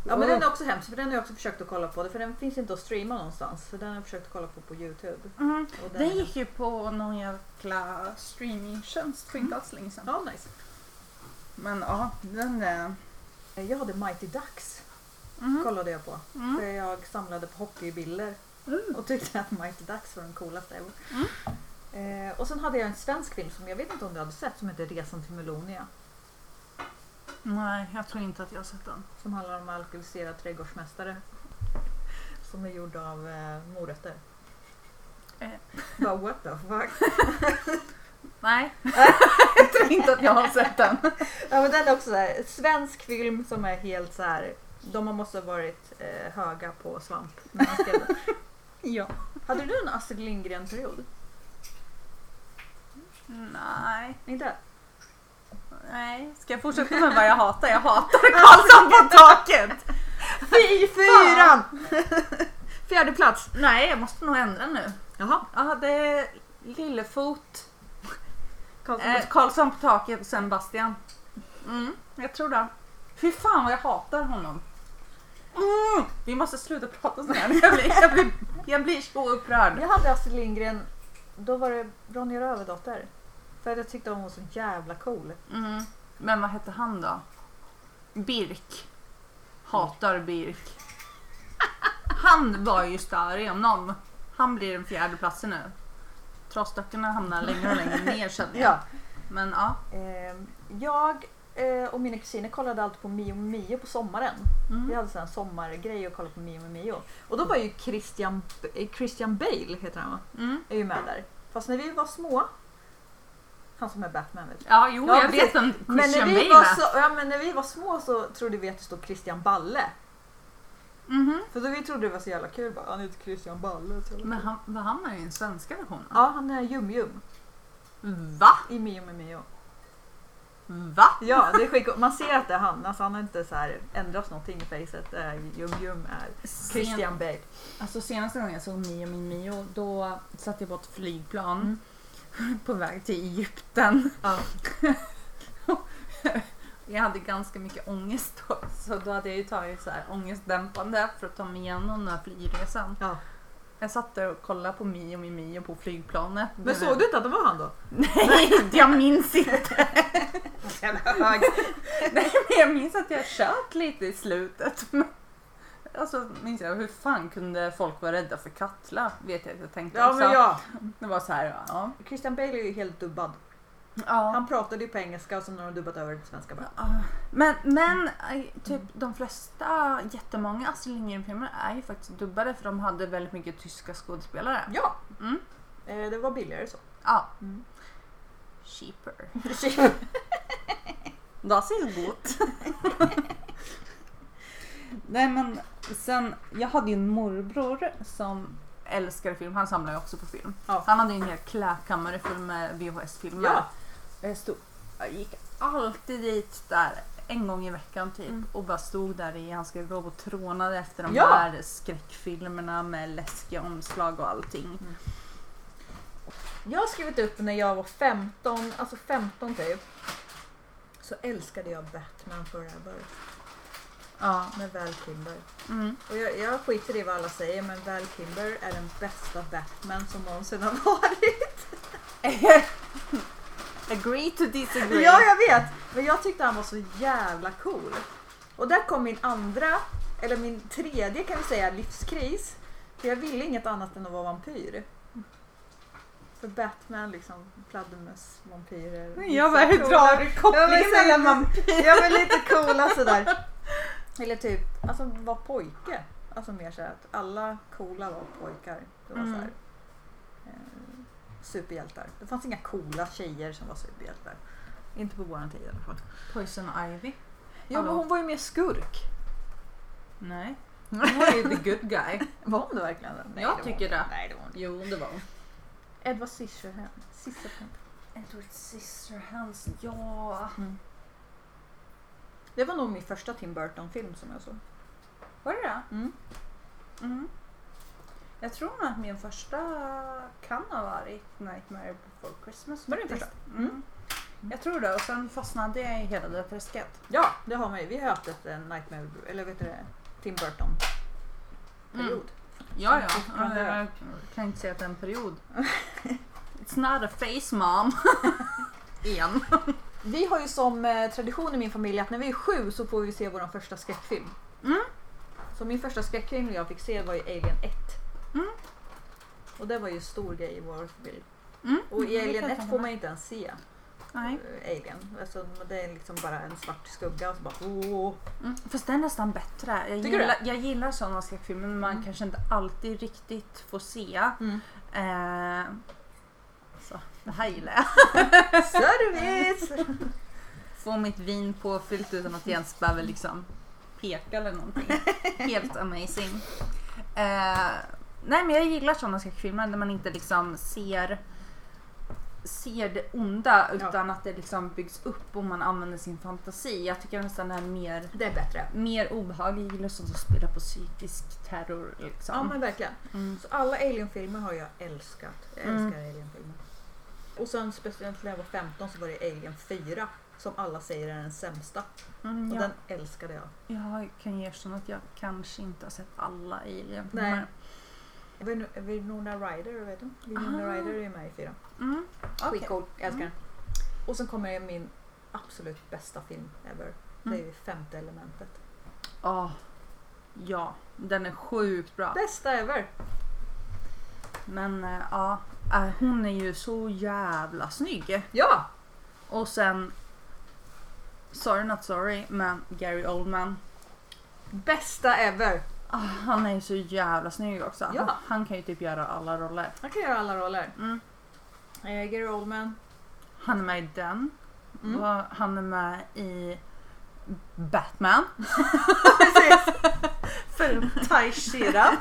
Speaker 1: ja, men den är också hemsk för den har jag också försökt att kolla på. För den finns inte att streama någonstans. Så den har jag försökt att kolla på på Youtube.
Speaker 2: mm,
Speaker 1: Och den
Speaker 2: den
Speaker 1: är-
Speaker 2: gick ju på någon jäkla streamingtjänst för inte alls länge sedan.
Speaker 1: Ja, nice.
Speaker 2: Men ja, den är...
Speaker 1: Eh, Jag hade Mighty Ducks.
Speaker 2: Mm,
Speaker 1: Kollade jag på. För
Speaker 2: mm,
Speaker 1: jag samlade på hockeybilder.
Speaker 2: mm.
Speaker 1: Och tyckte att Mighty Ducks var den coolaste ever. Eh, och sen hade jag en svensk film som jag vet inte om du hade sett som heter Resan till Melonia.
Speaker 2: Nej, jag tror inte att jag har sett den.
Speaker 1: Som handlar om alkoholiserad trädgårdsmästare. Som är gjord av eh, morötter.
Speaker 2: Eh.
Speaker 1: Bara what the fuck.
Speaker 2: Nej, jag tror inte att jag har sett den.
Speaker 1: Ja men den är också så här, svensk film som är helt så här. De har måste ha varit eh, höga på svamp när man skrev den.
Speaker 2: Ja.
Speaker 1: Hade du en Astrid Lindgren-period?
Speaker 2: Nej,
Speaker 1: Inte?
Speaker 2: nej. Ska jag fortsätta med vad jag hatar? Jag hatar Karlsson på taket!
Speaker 1: Fy fyran! Fjärde plats.
Speaker 2: Nej, jag måste nog ändra nu.
Speaker 1: Jaha.
Speaker 2: Jag hade Lillefot,
Speaker 1: Karlsson.
Speaker 2: eh, Karlsson på taket och sen Bastian. Mm, jag tror det. Fy fan vad jag hatar honom. Mm, vi måste sluta prata så här. Jag blir, jag blir, jag blir så upprörd.
Speaker 1: Jag hade Astrid Lindgren, då var det Ronja Rövardotter. För att jag tyckte hon var så jävla cool.
Speaker 2: Mm. Men vad hette han då? Birk. Hatar Birk. Han var ju större om någon. Han blir den fjärde platsen nu. Trasdockorna hamnar längre och längre ner känner jag. Men ja.
Speaker 1: Ehm, jag eh, och mina kusiner kollade alltid på Mio Mio på sommaren. Vi
Speaker 2: Mm.
Speaker 1: hade sån här sommargrej och kollade på Mio Mio. Och då var ju Christian, eh, Christian Bale, heter han va?
Speaker 2: Mm.
Speaker 1: Är ju med där. Fast när vi var små, han som är Batman vet du.
Speaker 2: Ja, jo,
Speaker 1: Ja,
Speaker 2: jag
Speaker 1: precis.
Speaker 2: vet vem
Speaker 1: Men när,
Speaker 2: Christian
Speaker 1: vi
Speaker 2: Bale
Speaker 1: var
Speaker 2: är.
Speaker 1: så, ja, men när vi var små så trodde vi att det stod Christian Balle.
Speaker 2: Mhm.
Speaker 1: För då vi trodde det var så jävla kul. Bara, "Ah, han heter Christian Balle. så jävla
Speaker 2: Men
Speaker 1: kul."
Speaker 2: han, var han med i den svenska versionen?
Speaker 1: Ja, han är Jum-Jum
Speaker 2: Va?
Speaker 1: i Mio Mio.
Speaker 2: Va?
Speaker 1: Ja, det är skitcoolt. Man ser att det är han. Alltså, han har inte så här ändrats någonting i facet. Det är Jum-Jum är Christian Bale.
Speaker 2: Alltså senaste gången jag såg Mio min Mio då satt jag på ett flygplan på väg till Egypten.
Speaker 1: Mm. Ja.
Speaker 2: jag hade ganska mycket ångest då så då hade jag ju tagit så här ångestdämpande för att ta mig igenom den här flygresan.
Speaker 1: Ja.
Speaker 2: Jag satt där och kollade på Mio min Mio på flygplanet.
Speaker 1: Men såg du inte att det var han då?
Speaker 2: Nej, jag minns inte. Nej, men jag minns att jag tjöt lite i slutet. Men, alltså minns jag, hur fan kunde folk vara rädda för Katla? Vet jag att jag tänkte
Speaker 1: Ja,
Speaker 2: också.
Speaker 1: men ja.
Speaker 2: Det var så här, ja.
Speaker 1: Christian Bale är ju helt dubbad.
Speaker 2: ja.
Speaker 1: Han pratade ju på engelska och sen har de dubbat över till svenska bara.
Speaker 2: "Ah." Men, men eh, typ de flesta, jättemånga Astrid Lindgren-filmer är ju faktiskt dubbade för de hade väldigt mycket tyska skådespelare.
Speaker 1: Ja!
Speaker 2: Mm.
Speaker 1: Eh, det var billigare så.
Speaker 2: Ja.
Speaker 1: Mm.
Speaker 2: Cheaper. Das ist gut. Nej men sen, jag hade ju en morbror som älskade film, han samlade ju också på film.
Speaker 1: Ja.
Speaker 2: Han hade ju en hel kläkammare full med VHS-filmer.
Speaker 1: ja.
Speaker 2: Jag, stod, jag gick alltid dit där en gång i veckan typ
Speaker 1: Mm.
Speaker 2: och bara stod där i hans garderob och trånade efter de
Speaker 1: Ja.
Speaker 2: där skräckfilmerna med läskiga omslag och allting.
Speaker 1: Mm. Jag har skrivit upp när jag var 15, alltså 15 typ. Så älskade jag Batman Forever
Speaker 2: Ja.
Speaker 1: med Val Kilmer.
Speaker 2: Mm.
Speaker 1: Och jag, jag skiter i vad alla säger men Val Kilmer är den bästa Batman som någonsin har varit.
Speaker 2: Agree to disagree.
Speaker 1: Ja, jag vet! Men jag tyckte han var så jävla cool. Och där kom min andra, eller min tredje kan vi säga, livskris. För jag ville inget annat än att vara vampyr. För Batman liksom, Pladermus, vampyrer.
Speaker 2: Jag bara, hur drar du
Speaker 1: Ja, men
Speaker 2: kopplingen
Speaker 1: så
Speaker 2: mellan
Speaker 1: jävla-
Speaker 2: man...
Speaker 1: Ja men lite coola sådär. Eller typ, alltså var pojke. Alltså mer såhär att alla coola var pojkar. Det var
Speaker 2: Mm.
Speaker 1: såhär. Eh, superhjältar. Det fanns inga coola tjejer som var superhjältar. Inte på våran tid i alla fall.
Speaker 2: Poison Ivy?
Speaker 1: Ja men hon var ju mer skurk.
Speaker 2: Nej. Hon var ju the good guy.
Speaker 1: Var hon det verkligen det?
Speaker 2: Jag
Speaker 1: var hon
Speaker 2: tycker
Speaker 1: inte.
Speaker 2: det.
Speaker 1: Nej det var hon inte.
Speaker 2: Jo, det var hon.
Speaker 1: Edward Scissorhands. Scissorhands.
Speaker 2: Edward Scissorhands, ja.
Speaker 1: Mm. Det var nog min första Tim Burton-film som jag såg.
Speaker 2: Var det det?
Speaker 1: Mm.
Speaker 2: Mhm. Jag tror nog att min första kan ha varit Nightmare before Christmas.
Speaker 1: Var det din
Speaker 2: faktiskt.
Speaker 1: Mm.
Speaker 2: Mm. Jag tror det och sen fastnade jag i hela det träsket.
Speaker 1: Ja, det har man ju. Vi har haft ett eh, Nightmare, eller vet du det, Tim Burton-period.
Speaker 2: Mm.
Speaker 1: Mm.
Speaker 2: Ja,
Speaker 1: ja. Ja, jag
Speaker 2: kan inte säga att det är en period. It's not a face mom. Igen.
Speaker 1: Vi har ju som eh, tradition i min familj att när vi är sju så får vi se vår första skräckfilm.
Speaker 2: Mm.
Speaker 1: Så min första skräckfilm jag fick se var ju Alien 1.
Speaker 2: Mm.
Speaker 1: Och det var ju en stor grej i vår familj.
Speaker 2: Mm.
Speaker 1: Och i
Speaker 2: det
Speaker 1: Alien
Speaker 2: kan jag
Speaker 1: 1
Speaker 2: tänka
Speaker 1: får
Speaker 2: mig.
Speaker 1: man ju inte ens se
Speaker 2: Nej.
Speaker 1: eh, Alien. Alltså, det är liksom bara en svart skugga och så bara åh.
Speaker 2: Mm. Fast den är nästan bättre. Jag
Speaker 1: Tycker
Speaker 2: gillar, jag gillar sådana skräckfilmer men man
Speaker 1: Mm.
Speaker 2: kanske inte alltid riktigt får se.
Speaker 1: Mm.
Speaker 2: Eh, så, det här gillar jag.
Speaker 1: Service!
Speaker 2: Få mitt vin påfyllt utan att jag ens behöver liksom peka eller någonting. Helt amazing. Eh, nej men jag gillar sådana skräckfilmer där man inte liksom ser ser det onda utan att det liksom byggs upp och man använder sin fantasi. Jag tycker nästan det är mer
Speaker 1: det är bättre.
Speaker 2: mer obehaglig. Jag gillar sånt som spelar på psykisk terror. Liksom.
Speaker 1: Ja men verkligen.
Speaker 2: Mm.
Speaker 1: Så alla Alien-filmer har jag älskat. Jag
Speaker 2: Mm.
Speaker 1: älskar Alien-filmer. Och sen speciellt när jag var 15 så var det Alien 4 som alla säger är den sämsta.
Speaker 2: Mm,
Speaker 1: Och
Speaker 2: jag,
Speaker 1: den älskade jag.
Speaker 2: jag kan ju erkänna att jag kanske inte har sett alla alien
Speaker 1: Nej. Vin- Winona Ryder, vet du? Winona
Speaker 2: Ah.
Speaker 1: Ryder är med i fyran.
Speaker 2: Mm. Okej.
Speaker 1: Skitcool, jag älskar
Speaker 2: Mm.
Speaker 1: den. Och sen kommer min absolut bästa film ever. Det är ju Femte elementet.
Speaker 2: Åh, ja, den är sjukt bra.
Speaker 1: Bästa ever!
Speaker 2: Men eh, ja, eh, hon är ju så jävla snygg.
Speaker 1: Ja!
Speaker 2: Och sen, sorry not sorry, men Gary Oldman.
Speaker 1: Bästa ever!
Speaker 2: Ah, han är ju så jävla snygg också.
Speaker 1: Ja.
Speaker 2: Han, han kan ju typ göra alla roller.
Speaker 1: Han kan göra alla roller.
Speaker 2: Mm.
Speaker 1: Eh, Gary Oldman.
Speaker 2: Han är med i den.
Speaker 1: Mm.
Speaker 2: Vad- Han är med i Batman.
Speaker 1: Precis!
Speaker 2: Förutom Tai Shira.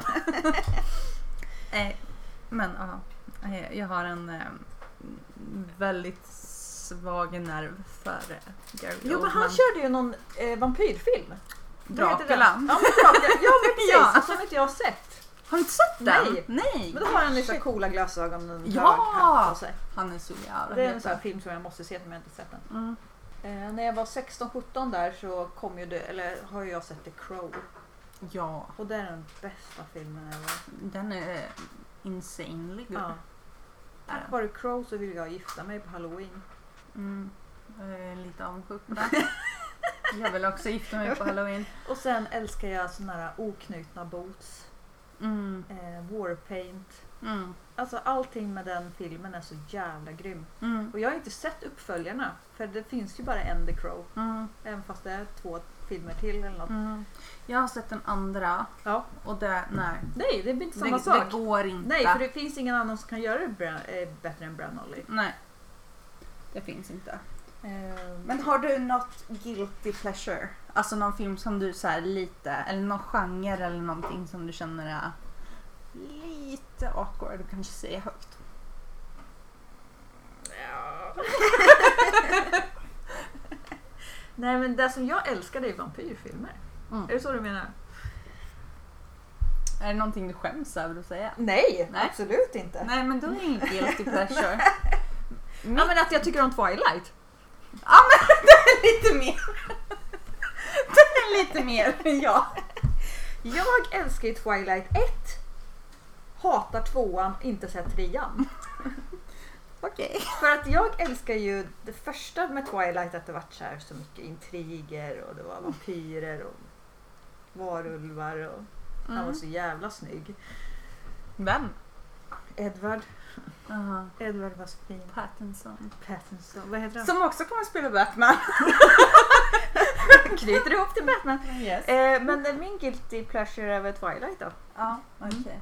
Speaker 2: eh, men ja, eh, jag har en eh, väldigt svag nerv för eh, Gary
Speaker 1: Jo men han
Speaker 2: Oldman.
Speaker 1: körde ju någon eh, vampyrfilm. Vad heter den?
Speaker 2: Dracula.
Speaker 1: Ja men, Dracula. ja, men
Speaker 2: Ja.
Speaker 1: precis! Som inte jag har sett.
Speaker 2: Har du inte sett den?
Speaker 1: Nej.
Speaker 2: Nej.
Speaker 1: Men då har han ju så här coola glasögon och en
Speaker 2: Ja.
Speaker 1: röd hatt på sig.
Speaker 2: Han är så jävla
Speaker 1: Det är en
Speaker 2: het.
Speaker 1: sån här film som jag måste se som jag inte sett än.
Speaker 2: Mm.
Speaker 1: Eh, när jag var 16-17 där så kom ju det, eller har ju jag sett The Crow.
Speaker 2: Ja,
Speaker 1: Och det är den bästa filmen ever.
Speaker 2: den är insanely good.
Speaker 1: Ja. Tack vare Crow så ville jag gifta mig på halloween.
Speaker 2: Mm. Jag är lite avundsjuk på det. jag vill också gifta mig på halloween.
Speaker 1: Och sen älskar jag såna här oknutna boots,
Speaker 2: Mm.
Speaker 1: eh, warpaint.
Speaker 2: Mm.
Speaker 1: Alltså allting med den filmen är så jävla grym.
Speaker 2: Mm.
Speaker 1: Och jag har inte sett uppföljarna, för det finns ju bara en The Crow.
Speaker 2: Mm.
Speaker 1: Även fast det är två filmer till eller något.
Speaker 2: Mm. Jag har sett den andra
Speaker 1: Ja.
Speaker 2: och det, nej.
Speaker 1: Nej, det är inte samma
Speaker 2: det,
Speaker 1: sak.
Speaker 2: det går inte.
Speaker 1: Nej, för det finns ingen annan som kan göra det bra, eh, bättre än Bran Ollie.
Speaker 2: nej. Det finns inte.
Speaker 1: Eh,
Speaker 2: Men har du något guilty pleasure? Alltså någon film som du så här lite, eller någon genre eller någonting som du känner är lite awkward och kanske säga högt.
Speaker 1: Nej men det som jag älskar det är vampyrfilmer.
Speaker 2: Mm.
Speaker 1: Är det så du menar?
Speaker 2: Är det någonting du skäms över att säga?
Speaker 1: Nej,
Speaker 2: Nej.
Speaker 1: absolut inte.
Speaker 2: Nej men då är det ingen guilty pleasure.
Speaker 1: Ja, men att jag tycker om Twilight.
Speaker 2: lite mer. det är lite mer än jag.
Speaker 1: Jag älskar ju Twilight 1. Hatar tvåan, inte sett trean.
Speaker 2: Okej.
Speaker 1: För att jag älskar ju det första med Twilight att det vart så, här så mycket intriger och det var vampyrer och varulvar och
Speaker 2: Mm.
Speaker 1: han var så jävla snygg.
Speaker 2: Vem?
Speaker 1: Edward,
Speaker 2: Aha,
Speaker 1: Edward var så fin.
Speaker 2: Pattinson.
Speaker 1: Pattinson, vad heter han?
Speaker 2: Som också kommer spela Batman.
Speaker 1: Som knyter ihop till Batman.
Speaker 2: Yes.
Speaker 1: Eh, men det är min guilty pleasure över Twilight då.
Speaker 2: Ja, okej.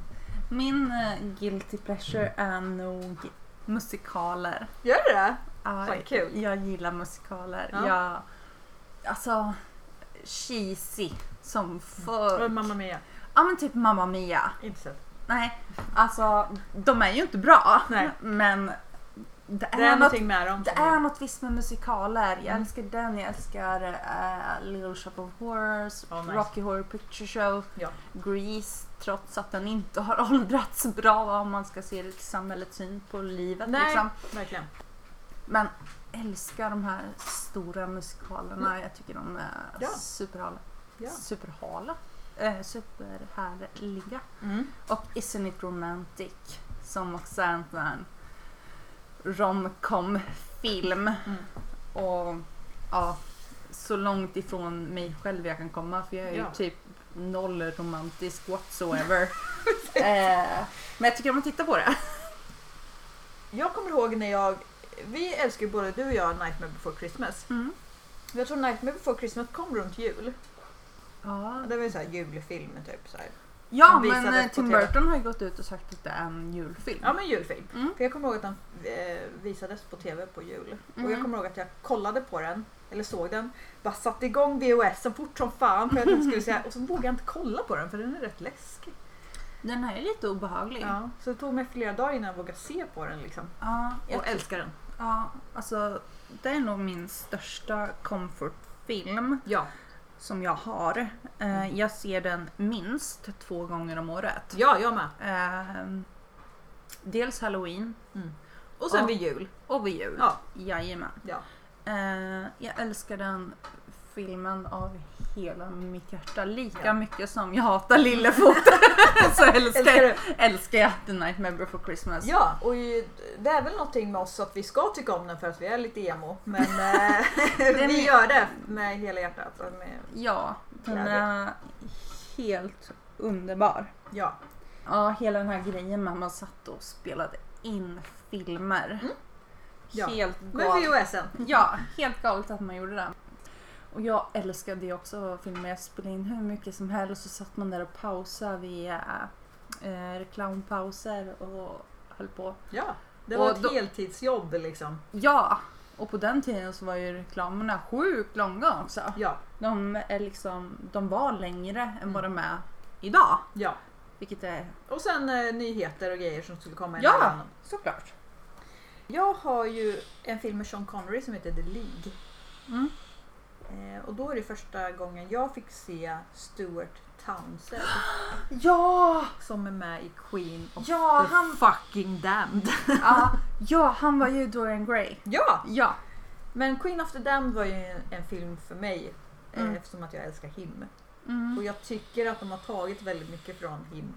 Speaker 2: Min eh, guilty pleasure är nog musikaler.
Speaker 1: Gör du det?
Speaker 2: Ja,
Speaker 1: Fan, Ah, kul.
Speaker 2: Jag gillar musikaler.
Speaker 1: Ja.
Speaker 2: Jag, alltså, cheesy som
Speaker 1: Mm. Vad är
Speaker 2: fuck.
Speaker 1: Mamma Mia.
Speaker 2: Ja men typ Mamma Mia.
Speaker 1: Inte sett.
Speaker 2: Nej, alltså de är ju inte bra.
Speaker 1: Nej.
Speaker 2: Men Det
Speaker 1: Det
Speaker 2: är,
Speaker 1: är
Speaker 2: något,
Speaker 1: någonting med dem.
Speaker 2: det
Speaker 1: som-
Speaker 2: är något visst med musikaler. Jag
Speaker 1: Mm.
Speaker 2: älskar den, jag älskar eh, Little Shop of Horrors,
Speaker 1: Ja, nice.
Speaker 2: Rocky Horror Picture Show,
Speaker 1: Ja.
Speaker 2: Grease, trots att den inte har åldrats bra om man ska se det till samhällets syn på livet.
Speaker 1: Nej.
Speaker 2: Liksom.
Speaker 1: Verkligen.
Speaker 2: Men älskar de här stora musikalerna. Jag tycker de är
Speaker 1: Mm. Ja.
Speaker 2: superhala.
Speaker 1: Ja.
Speaker 2: Superhala. Eh, superhärliga.
Speaker 1: Mm.
Speaker 2: Och Isn't It Romantic som också är en sån här romcom-film.
Speaker 1: Mm.
Speaker 2: Och ja, så långt ifrån mig själv jag kan komma för jag är ju
Speaker 1: Ja.
Speaker 2: typ noll romantisk whatsoever. eh, men jag tycker om att titta på det.
Speaker 1: Jag kommer ihåg när jag... Vi älskar ju både du och jag Nightmare before Christmas.
Speaker 2: Mm.
Speaker 1: Jag tror Nightmare before Christmas kom runt jul.
Speaker 2: Ja,
Speaker 1: Det var ju såhär julfilm typ. Så här.
Speaker 2: Ja,
Speaker 1: Som
Speaker 2: men
Speaker 1: visades
Speaker 2: eh,
Speaker 1: på
Speaker 2: Tim
Speaker 1: TV.
Speaker 2: Burton har ju gått ut och sagt att det är en julfilm.
Speaker 1: Ja men julfilm.
Speaker 2: Mm.
Speaker 1: För jag kommer ihåg att den eh, visades på TV på jul. Och
Speaker 2: Mhm.
Speaker 1: jag kommer ihåg att jag kollade på den, eller såg den, bara satte igång VHS så fort som fan för att jag inte skulle säga, och så vågade jag inte kolla på den för den är rätt läskig.
Speaker 2: Den här är lite obehaglig. Ja.
Speaker 1: Ja, så det tog mig flera dagar innan jag vågade se på den liksom.
Speaker 2: jag,
Speaker 1: Och älskar den.
Speaker 2: ja, alltså det är nog min största comfortfilm
Speaker 1: Ja.
Speaker 2: som jag har. Eh, jag ser den minst två gånger om året.
Speaker 1: Ja, jag med.
Speaker 2: Eh, dels halloween
Speaker 1: Och sen
Speaker 2: Ja.
Speaker 1: vid jul.
Speaker 2: och vid jul.
Speaker 1: Ja.
Speaker 2: Jajamän.
Speaker 1: Ja.
Speaker 2: Eh, jag älskar den filmen av hela mitt hjärta. Lika
Speaker 1: Ja.
Speaker 2: mycket som jag hatar Lillefot så älskar
Speaker 1: Älskar
Speaker 2: jag
Speaker 1: du?
Speaker 2: älskar jag The Nightmare Before Christmas.
Speaker 1: Ja, och ju- det är väl någonting med oss att vi ska tycka om den för att vi är lite emo. Men eh,
Speaker 2: är
Speaker 1: vi
Speaker 2: min-
Speaker 1: gör det med hela hjärtat. och Med,
Speaker 2: Ja, den
Speaker 1: Glädje.
Speaker 2: är helt underbar.
Speaker 1: ja.
Speaker 2: Ja, hela den här grejen med att man satt och spelade in filmer.
Speaker 1: Mm. Ja.
Speaker 2: Helt
Speaker 1: Med
Speaker 2: galet.
Speaker 1: VHSen.
Speaker 2: Ja, helt galet att man gjorde det. Och jag älskade ju också filmer. Jag spelade in hur mycket som helst och så satt man där och pausade via eh, reklampauser och höll på.
Speaker 1: Ja. Det
Speaker 2: Och
Speaker 1: var ett
Speaker 2: då-
Speaker 1: heltidsjobb liksom.
Speaker 2: Ja, och på den tiden så var ju reklamerna sjukt långa också.
Speaker 1: Ja,
Speaker 2: De, är liksom, de var längre än vad de är idag.
Speaker 1: Mm. ja.
Speaker 2: Vilket är
Speaker 1: Och sen eh, nyheter och grejer som skulle komma
Speaker 2: Ja.
Speaker 1: emellan.
Speaker 2: såklart.
Speaker 1: Jag har ju en film med Sean Connery som heter The League.
Speaker 2: Mm.
Speaker 1: Eh, och då är det första gången jag fick se Stuart Townsend
Speaker 2: Ja!
Speaker 1: som är med i Queen of
Speaker 2: Ja,
Speaker 1: the
Speaker 2: han,
Speaker 1: fucking Damned.
Speaker 2: ja, ja, han var ju Dorian Gray.
Speaker 1: ja!
Speaker 2: Ja.
Speaker 1: Men Queen of the Damned var ju en, en film för mig eh,
Speaker 2: Mm.
Speaker 1: eftersom att jag älskar him.
Speaker 2: Mm.
Speaker 1: Och jag tycker att de har tagit väldigt mycket från him.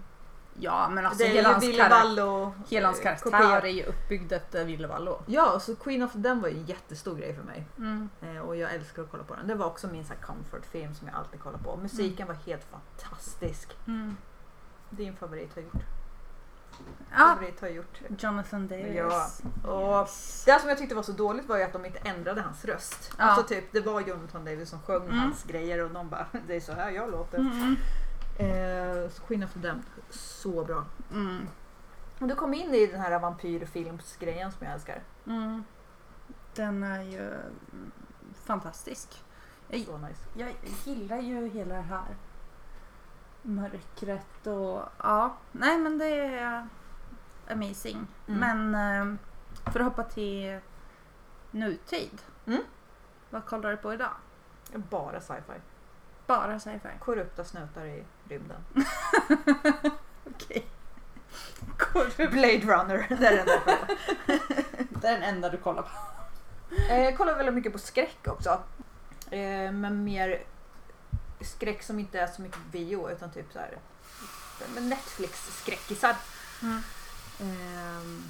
Speaker 2: Ja, men alltså
Speaker 1: det är
Speaker 2: hela
Speaker 1: ju
Speaker 2: hans,
Speaker 1: Billy
Speaker 2: kar-
Speaker 1: Wallo.
Speaker 2: hela hans
Speaker 1: eh,
Speaker 2: karaktär
Speaker 1: kopior.
Speaker 2: är ju uppbyggd efter Ville Vallo.
Speaker 1: Ja, så Queen of the Damned var ju en jättestor grej för mig.
Speaker 2: Mm.
Speaker 1: Eh, Och jag älskar att kolla på den. Det var också min så här comfort film som jag alltid kollar på. Musiken var helt fantastisk.
Speaker 2: Mm.
Speaker 1: Din favorit har gjort.
Speaker 2: Ja,
Speaker 1: Favorit har gjort.
Speaker 2: Jonathan Davis.
Speaker 1: Ja. Och det som jag tyckte var så dåligt var ju att de inte ändrade hans röst.
Speaker 2: Ja.
Speaker 1: Alltså typ, det var Jonathan Davis som sjöng
Speaker 2: Mm.
Speaker 1: hans grejer och de bara det är så här jag låter.
Speaker 2: Mm.
Speaker 1: Eh, så Queen of the Damned, så bra.
Speaker 2: Mm.
Speaker 1: Och du kom in i den här vampyrfilmsgrejen som jag älskar.
Speaker 2: Mm. Den är ju mm, fantastisk. Jag,
Speaker 1: Så nice.
Speaker 2: jag gillar ju hela det här mörkret och ja, nej men det är amazing.
Speaker 1: Mm.
Speaker 2: Men eh, för att hoppa till nutid.
Speaker 1: Mm.
Speaker 2: Vad kollar du på idag?
Speaker 1: Bara sci-fi.
Speaker 2: Bara sci-fi.
Speaker 1: Korrupta snutar i rymden.
Speaker 2: Okej.
Speaker 1: Blade Runner, det är den där filmen.
Speaker 2: Det är den enda du kollar på.
Speaker 1: Eh, Jag kollar väldigt mycket på skräck också. Eh, Men mer skräck som inte är så mycket bio utan typ så här men Netflix-skräckisar.
Speaker 2: Mm.
Speaker 1: Ehm,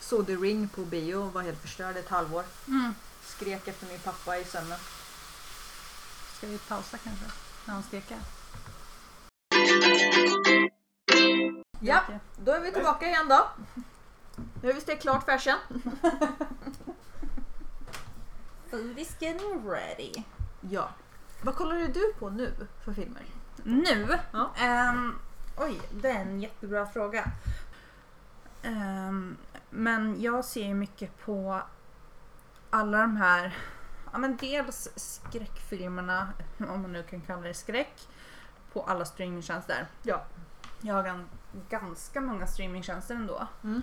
Speaker 1: Såg The Ring på bio och var helt förstörd ett halvår.
Speaker 2: Mm.
Speaker 1: Skrek efter min pappa i sömnen.
Speaker 2: Ska vi pausa kanske? När han skrek?
Speaker 1: Ja, då är vi tillbaka igen då. Nu har vi stekt klart färsen.
Speaker 2: Food is getting ready.
Speaker 1: Ja. Vad kollade du på nu för filmer?
Speaker 2: Nu?
Speaker 1: Ja.
Speaker 2: Ehm, oj, det är en jättebra fråga. Ehm, men jag ser ju mycket på alla de här, ja men dels skräckfilmerna, om man nu kan kalla det skräck, på alla streamingtjänster.
Speaker 1: Ja.
Speaker 2: Jag har gan- ganska många streamingtjänster ändå.
Speaker 1: Mm.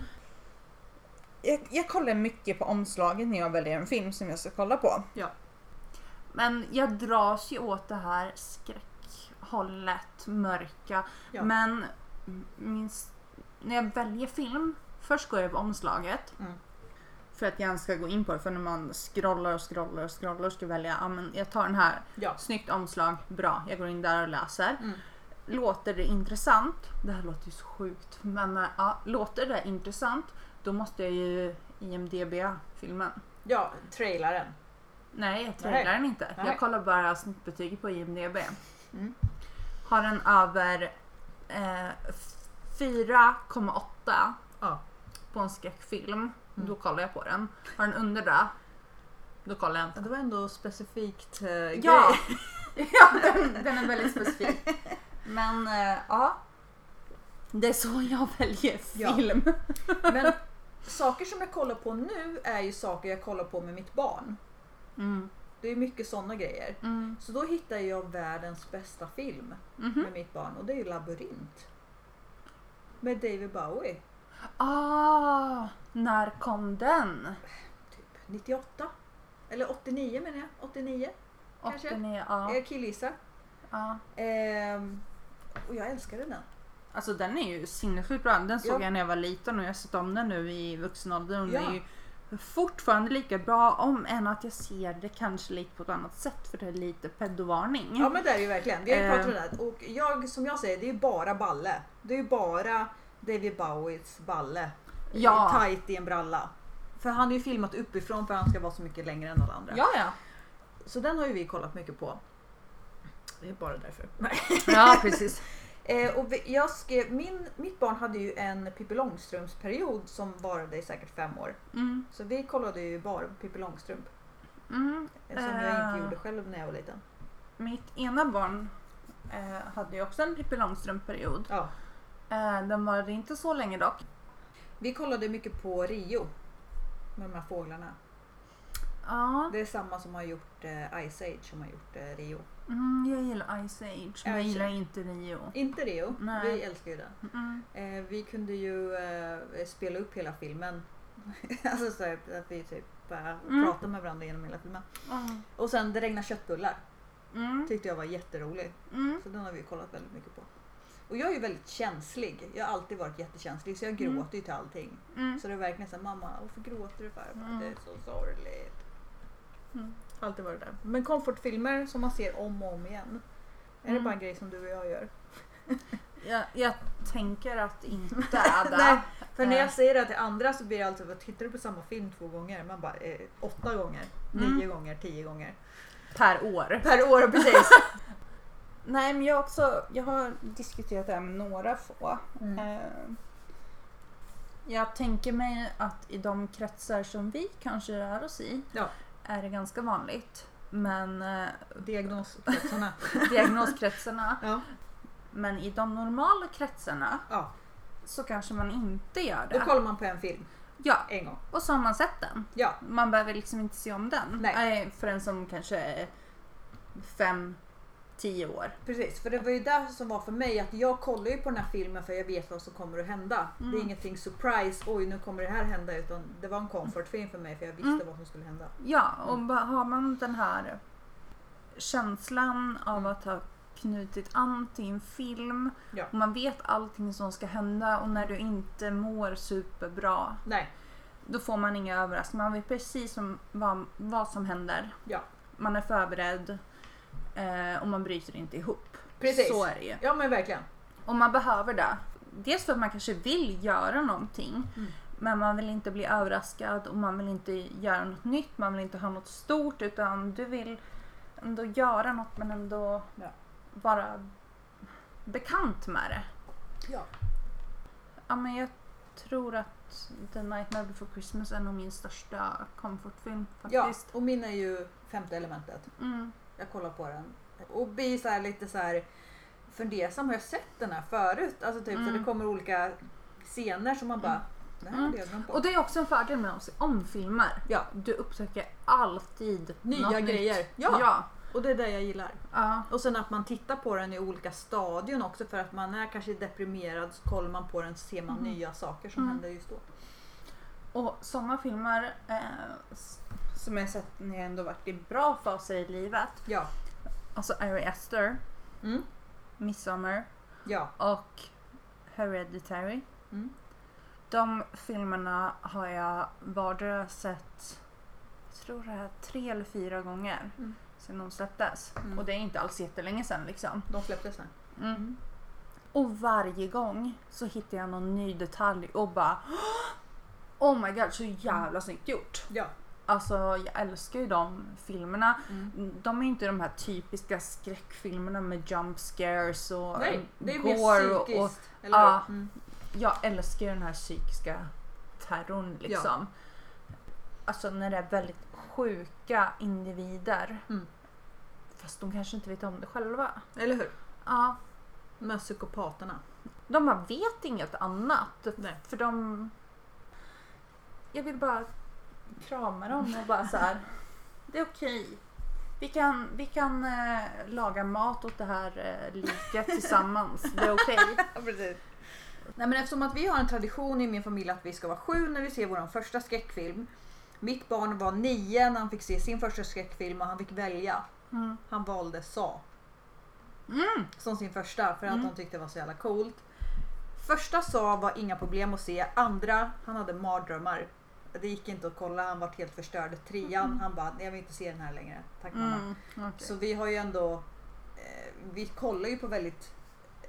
Speaker 2: jag, jag kollar mycket på omslagen när jag väljer en film som jag ska kolla på.
Speaker 1: Ja.
Speaker 2: Men jag dras ju åt det här skräckhållet, mörka.
Speaker 1: Ja.
Speaker 2: Men min, s- när jag väljer film, först går jag på omslaget.
Speaker 1: Mm.
Speaker 2: För att jag ens ska gå in på det. För när man scrollar och scrollar och scrollar och ska välja, ja men jag tar den här.
Speaker 1: Ja.
Speaker 2: Snyggt omslag, bra. Jag går in där och läser.
Speaker 1: Mm.
Speaker 2: Låter det intressant, det här låter ju så sjukt, men eh, ja, låter det intressant då måste jag ju IMDB filmen.
Speaker 1: ja, trailaren.
Speaker 2: Nej, jag trailar den inte.
Speaker 1: Nej.
Speaker 2: Jag kollar bara snittbetyget på IMDB.
Speaker 1: Mm.
Speaker 2: Har den över eh, 4,8
Speaker 1: Ja. Mm.
Speaker 2: på en skräckfilm, då kollar jag på den. Har den under det, då kollar jag inte.
Speaker 1: Det var ändå specifikt eh, grej.
Speaker 2: Ja, ja den, den är väldigt specifik. Men eh, ja, det är så jag väljer
Speaker 1: Ja.
Speaker 2: film.
Speaker 1: Men saker som jag kollar på nu är ju saker jag kollar på med mitt barn.
Speaker 2: Mm.
Speaker 1: Det är mycket sådana grejer.
Speaker 2: Mm.
Speaker 1: Så då hittar jag världens bästa film
Speaker 2: Mhm.
Speaker 1: med mitt barn och det är ju Labyrint. Med David Bowie.
Speaker 2: Ah, när kom den?
Speaker 1: Typ 98. Eller 89 menar jag. 89. Kanske.
Speaker 2: 89, ja.
Speaker 1: Jag killgissar.
Speaker 2: ja.
Speaker 1: Ehm, och jag älskade den.
Speaker 2: Alltså den är ju sinnessjukt bra. Den såg
Speaker 1: Ja.
Speaker 2: jag när jag var liten och jag har sett om den nu i vuxen ålder. och Den
Speaker 1: Ja.
Speaker 2: är ju fortfarande lika bra om än att jag ser det kanske lite på ett annat sätt för det är lite pedovarning.
Speaker 1: Ja men det är det ju verkligen. Vi har ju pratat om
Speaker 2: Mm. Ehm.
Speaker 1: det här. Och jag, som jag säger, det är ju bara balle. Det är ju bara David Bowies balle. Eh,
Speaker 2: Ja.
Speaker 1: Tight i en bralla. För han är ju filmat uppifrån för han ska vara så mycket längre än alla andra.
Speaker 2: ja, ja.
Speaker 1: Så den har ju vi kollat mycket på. Det är bara därför.
Speaker 2: Ja, precis.
Speaker 1: Eh, och vi, jag skrev, min, mitt barn hade ju en Pippi Långstrumps-period som varade i säkert fem år.
Speaker 2: Mm,
Speaker 1: Så vi kollade ju bara på Pippi Långstrump.
Speaker 2: mm.
Speaker 1: eh, Som jag
Speaker 2: Eh.
Speaker 1: inte gjorde själv när jag var liten.
Speaker 2: Mitt ena barn eh, hade ju också en Pippi Långstrump-period.
Speaker 1: Ja.
Speaker 2: Eh, den varade inte så länge dock.
Speaker 1: Vi kollade mycket på Rio. Med de här fåglarna.
Speaker 2: Ja,
Speaker 1: Det är samma som har gjort eh, Ice Age som har gjort eh, Rio.
Speaker 2: mm, jag gillar Ice Age men jag
Speaker 1: Ice
Speaker 2: gillar
Speaker 1: Age.
Speaker 2: inte Rio.
Speaker 1: Inte Rio,
Speaker 2: Nej.
Speaker 1: vi älskar ju den.
Speaker 2: Mm.
Speaker 1: Eh, vi kunde ju eh, spela upp hela filmen. alltså så här, att vi typ bara
Speaker 2: Mm.
Speaker 1: pratade med varandra genom hela filmen.
Speaker 2: Mm.
Speaker 1: Och sen Det regnar köttbullar.
Speaker 2: Mm.
Speaker 1: tyckte jag var jätterolig.
Speaker 2: Mm.
Speaker 1: Så den har vi kollat väldigt mycket på. Och jag är ju väldigt känslig. Jag har alltid varit jättekänslig så jag
Speaker 2: Mm.
Speaker 1: gråter ju till allting.
Speaker 2: Mm.
Speaker 1: Så det är verkligen såhär, mamma varför gråter du farfar?
Speaker 2: Mm.
Speaker 1: Det är så sorgligt.
Speaker 2: Mm.
Speaker 1: Alltid varit där. Men komfortfilmer som man ser om och om igen. Är det
Speaker 2: Mm.
Speaker 1: bara en grej som du och jag gör?
Speaker 2: Jag, jag tänker att inte Ada.
Speaker 1: Nej, för när
Speaker 2: Eh.
Speaker 1: jag säger det till andra så blir det alltid att tittar du på samma film två gånger? Man bara eh, åtta gånger,
Speaker 2: Mm.
Speaker 1: nio gånger, tio gånger.
Speaker 2: Per år.
Speaker 1: Per år precis.
Speaker 2: Nej men jag, har också, jag har diskuterat det här med några få.
Speaker 1: Mm.
Speaker 2: Eh, Jag tänker mig att i de kretsar som vi kanske rör oss i
Speaker 1: Ja.
Speaker 2: är det ganska vanligt. Men eh,
Speaker 1: Diagnoskretsarna.
Speaker 2: diagnoskretsarna,
Speaker 1: Ja.
Speaker 2: men i de normala kretsarna
Speaker 1: ja.
Speaker 2: så kanske man inte gör
Speaker 1: Då
Speaker 2: det.
Speaker 1: kollar man på en film
Speaker 2: Ja,
Speaker 1: en gång.
Speaker 2: och så har man sett den.
Speaker 1: Ja.
Speaker 2: Man behöver liksom inte se om den.
Speaker 1: Nej.
Speaker 2: Eh, För en som kanske är fem, tio år.
Speaker 1: Precis, för det var ju det som var för mig att jag kollar ju på den här filmen för jag vet vad som kommer att hända. Det är
Speaker 2: Mm.
Speaker 1: ingenting surprise, oj nu kommer det här hända utan det var en comfortfilm för mig för jag visste
Speaker 2: Mm.
Speaker 1: vad som skulle hända.
Speaker 2: Ja, och ba- har man den här känslan av att ha knutit an till en film
Speaker 1: Mm. Ja.
Speaker 2: och man vet allting som ska hända och när du inte mår superbra
Speaker 1: Nej,
Speaker 2: då får man inga överraskningar. Man vet precis som, vad, vad som händer.
Speaker 1: Ja.
Speaker 2: Man är förberedd eh, och man bryter inte ihop.
Speaker 1: precis.
Speaker 2: Så är det ju.
Speaker 1: Ja men verkligen.
Speaker 2: Och man behöver det. Dels för att man kanske vill göra någonting
Speaker 1: Mm.
Speaker 2: men man vill inte bli överraskad och man vill inte göra något nytt, man vill inte ha något stort utan du vill ändå göra något men ändå
Speaker 1: Ja.
Speaker 2: vara bekant med det.
Speaker 1: Ja.
Speaker 2: Ja men jag tror att The Nightmare Before Christmas är nog min största comfortfilm
Speaker 1: ja.
Speaker 2: faktiskt.
Speaker 1: Och min är ju femte elementet.
Speaker 2: Mm.
Speaker 1: Jag kollar på den och blir så här lite så här fundersam, har jag sett den här förut? Alltså typ så
Speaker 2: Mm.
Speaker 1: det kommer olika scener som man bara, det här
Speaker 2: Mm.
Speaker 1: hade jag glömt
Speaker 2: Och
Speaker 1: bort.
Speaker 2: det är också en fördel med att se om filmer.
Speaker 1: Ja.
Speaker 2: Du upptäcker alltid
Speaker 1: Nya
Speaker 2: något nytt.
Speaker 1: grejer. Ja.
Speaker 2: ja.
Speaker 1: Och det är det jag gillar.
Speaker 2: ja.
Speaker 1: Och sen att man tittar på den i olika stadion också för att man är kanske deprimerad så kollar man på den så ser man
Speaker 2: Mm.
Speaker 1: nya saker som
Speaker 2: Mm.
Speaker 1: händer just då.
Speaker 2: Och sådana filmer eh, s- som jag sett när jag ändå varit i bra faser i livet.
Speaker 1: Ja.
Speaker 2: Alltså Ari Aster,
Speaker 1: Mm.
Speaker 2: Midsommar
Speaker 1: Ja.
Speaker 2: och Hereditary.
Speaker 1: Mm.
Speaker 2: De filmerna har jag vardera sett, jag tror det är tre eller fyra gånger
Speaker 1: Mm.
Speaker 2: sedan de släpptes.
Speaker 1: Mm.
Speaker 2: Och det är inte alls jättelänge sedan liksom.
Speaker 1: De släpptes sen. Mm.
Speaker 2: Och varje gång så hittar jag någon ny detalj och bara Oh my god, så jävla snyggt gjort!
Speaker 1: Ja.
Speaker 2: Alltså jag älskar ju de filmerna.
Speaker 1: Mm.
Speaker 2: De är inte de här typiska skräckfilmerna med jump scares och
Speaker 1: Nej, det är
Speaker 2: gore
Speaker 1: mer
Speaker 2: och, och
Speaker 1: psykiskt. eller
Speaker 2: ja.
Speaker 1: hur? Mm.
Speaker 2: jag älskar ju den här psykiska terrorn liksom. Alltså när det är väldigt sjuka individer.
Speaker 1: Mm.
Speaker 2: Fast de kanske inte vet om det själva.
Speaker 1: Eller hur?
Speaker 2: Ja.
Speaker 1: De här psykopaterna.
Speaker 2: De bara vet inget annat.
Speaker 1: Nej.
Speaker 2: För de... Jag vill bara krama dem och bara så här. Det är okej. Vi kan, vi kan eh, laga mat åt det här eh, liket tillsammans. Det är okej.
Speaker 1: precis. Nej, men eftersom att vi har en tradition i min familj att vi ska vara sju när vi ser vår första skräckfilm. Mitt barn var nio när han fick se sin första skräckfilm och han fick välja.
Speaker 2: Mm.
Speaker 1: Han valde Sa. Som sin första för att
Speaker 2: Mm.
Speaker 1: han tyckte det var så jävla coolt. Första Sa var inga problem att se. Andra, han hade mardrömmar. Det gick inte att kolla, han var helt förstörd. Trean, han bara, "Nej, jag vill inte se den här längre. Tack mamma.
Speaker 2: Mm. okej.
Speaker 1: Så vi har ju ändå, eh, vi kollar ju på väldigt eh,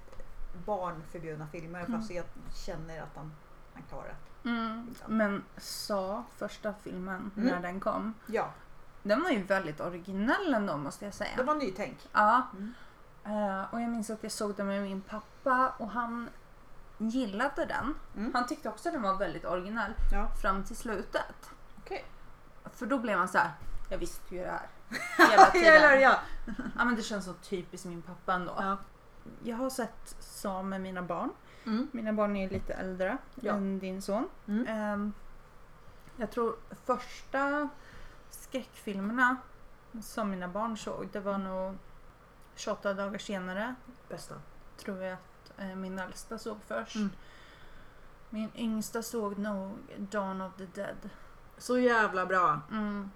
Speaker 1: barnförbjudna filmer fast jag känner att han, han klarar det.
Speaker 2: Mm. Men sa första filmen
Speaker 1: Mm.
Speaker 2: när den kom.
Speaker 1: Ja,
Speaker 2: Den var ju väldigt originell ändå måste jag säga.
Speaker 1: det var nytänk.
Speaker 2: Ja.
Speaker 1: Mm.
Speaker 2: Eh, och jag minns att jag såg den med min pappa och han gillade den.
Speaker 1: Mm.
Speaker 2: Han tyckte också att den var väldigt originell
Speaker 1: Ja.
Speaker 2: fram till slutet.
Speaker 1: Okej.
Speaker 2: För då blev han så här. jag visste ju det här. Hela
Speaker 1: Eller
Speaker 2: tiden.
Speaker 1: ja.
Speaker 2: ja, men det känns så typiskt min pappa ändå.
Speaker 1: Ja.
Speaker 2: Jag har sett Sa med mina barn.
Speaker 1: Mm.
Speaker 2: Mina barn är ju lite äldre
Speaker 1: Ja.
Speaker 2: än din son.
Speaker 1: Mm.
Speaker 2: Ehm, jag tror första skräckfilmerna som mina barn såg, det var nog 28 dagar senare
Speaker 1: Bästa.
Speaker 2: tror jag att eh, min äldsta såg först.
Speaker 1: Mm.
Speaker 2: Min yngsta såg nog Dawn of the Dead.
Speaker 1: Så jävla bra.
Speaker 2: Mm.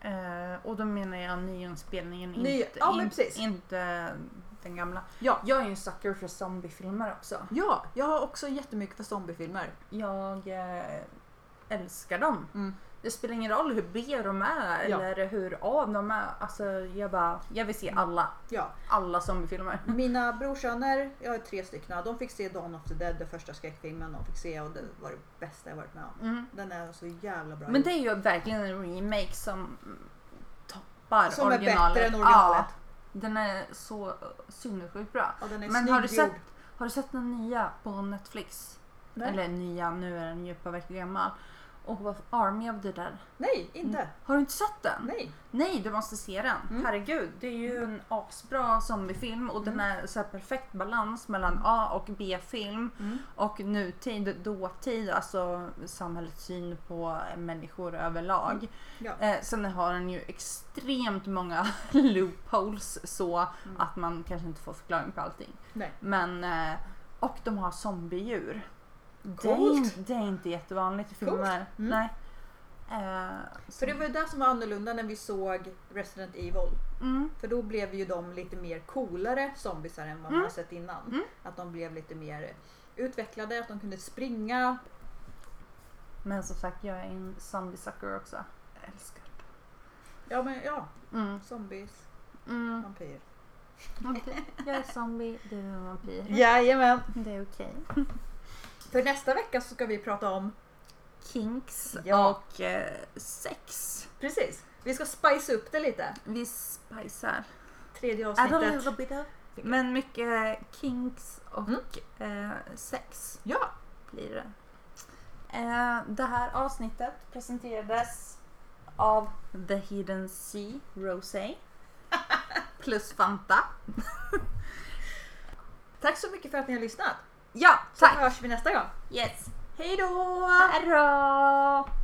Speaker 2: Eh, och då menar jag nyinspelningen,
Speaker 1: Ny-
Speaker 2: inte,
Speaker 1: ja, men
Speaker 2: in-
Speaker 1: precis.
Speaker 2: inte den gamla.
Speaker 1: Ja.
Speaker 2: Jag är ju en sucker för zombiefilmer också.
Speaker 1: Ja, jag har också jättemycket för zombiefilmer.
Speaker 2: Jag eh, älskar dem.
Speaker 1: Mm.
Speaker 2: Det spelar ingen roll hur B de är
Speaker 1: Ja.
Speaker 2: eller hur A de är. Alltså, jag, bara, jag vill se
Speaker 1: Mm.
Speaker 2: alla,
Speaker 1: Ja.
Speaker 2: alla zombiefilmer.
Speaker 1: Mina brorsöner, jag har tre stycken, de fick se Dawn of the Dead, den första skräckfilmen de fick se och det var det bästa jag varit med om.
Speaker 2: Mm.
Speaker 1: Den är så jävla bra.
Speaker 2: Men det är ju verkligen en remake som toppar
Speaker 1: Som är
Speaker 2: originalet.
Speaker 1: bättre än originalet.
Speaker 2: Ja, den är så eh, sinnessjukt bra.
Speaker 1: Ja, den är
Speaker 2: Men har du,
Speaker 1: snygg gjord.
Speaker 2: sett, har du sett den nya på Netflix?
Speaker 1: Nej.
Speaker 2: Eller nya, nu är den ju ett par veckor gammal. Och Army of the Dead.
Speaker 1: Nej, inte.
Speaker 2: Har du inte sett den?
Speaker 1: Nej.
Speaker 2: Nej, du måste se den.
Speaker 1: Mm.
Speaker 2: Herregud, det är ju en asbra zombiefilm och den är så här perfekt balans mellan A och B-film
Speaker 1: Mm.
Speaker 2: och nutid, dåtid, alltså samhällets syn på människor överlag.
Speaker 1: Mm. Ja.
Speaker 2: Eh, sen har den ju extremt många loopholes så att man kanske inte får förklaring på allting.
Speaker 1: Mm. Nej.
Speaker 2: Men, eh, och de har zombiedjur. Det är,
Speaker 1: Coolt.
Speaker 2: in- det är inte jättevanligt i filmer.
Speaker 1: Mm.
Speaker 2: Nej. Eh, så-
Speaker 1: För det var ju det som var annorlunda när vi såg Resident Evil.
Speaker 2: mm,
Speaker 1: För då blev ju de lite mer coolare zombisar än vad
Speaker 2: Mm.
Speaker 1: man har sett innan. Att de blev lite mer utvecklade, att de kunde springa.
Speaker 2: men som sagt, jag är en zombie sucker också. Jag älskar det.
Speaker 1: Ja, men ja.
Speaker 2: Mm,
Speaker 1: Zombies,
Speaker 2: mm,
Speaker 1: vampyr.
Speaker 2: okej. Jag är zombie, du är en vampyr.
Speaker 1: Jajamän!
Speaker 2: Det är okej.
Speaker 1: För nästa vecka så ska vi prata om...
Speaker 2: Kinks
Speaker 1: Ja.
Speaker 2: och eh, sex.
Speaker 1: Precis! Vi ska spice upp det lite.
Speaker 2: Vi spicar.
Speaker 1: Tredje
Speaker 2: Add a
Speaker 1: avsnittet.
Speaker 2: little bit of. Men mycket eh, kinks och eh, sex.
Speaker 1: Mm. Ja!
Speaker 2: blir det. Eh, det här avsnittet presenterades av The Hidden Sea Rosé plus Fanta.
Speaker 1: Tack så mycket för att ni har lyssnat.
Speaker 2: Ja,
Speaker 1: Så
Speaker 2: tack!
Speaker 1: hörs vi nästa gång.
Speaker 2: Yes!
Speaker 1: Hej då!
Speaker 2: Hej då!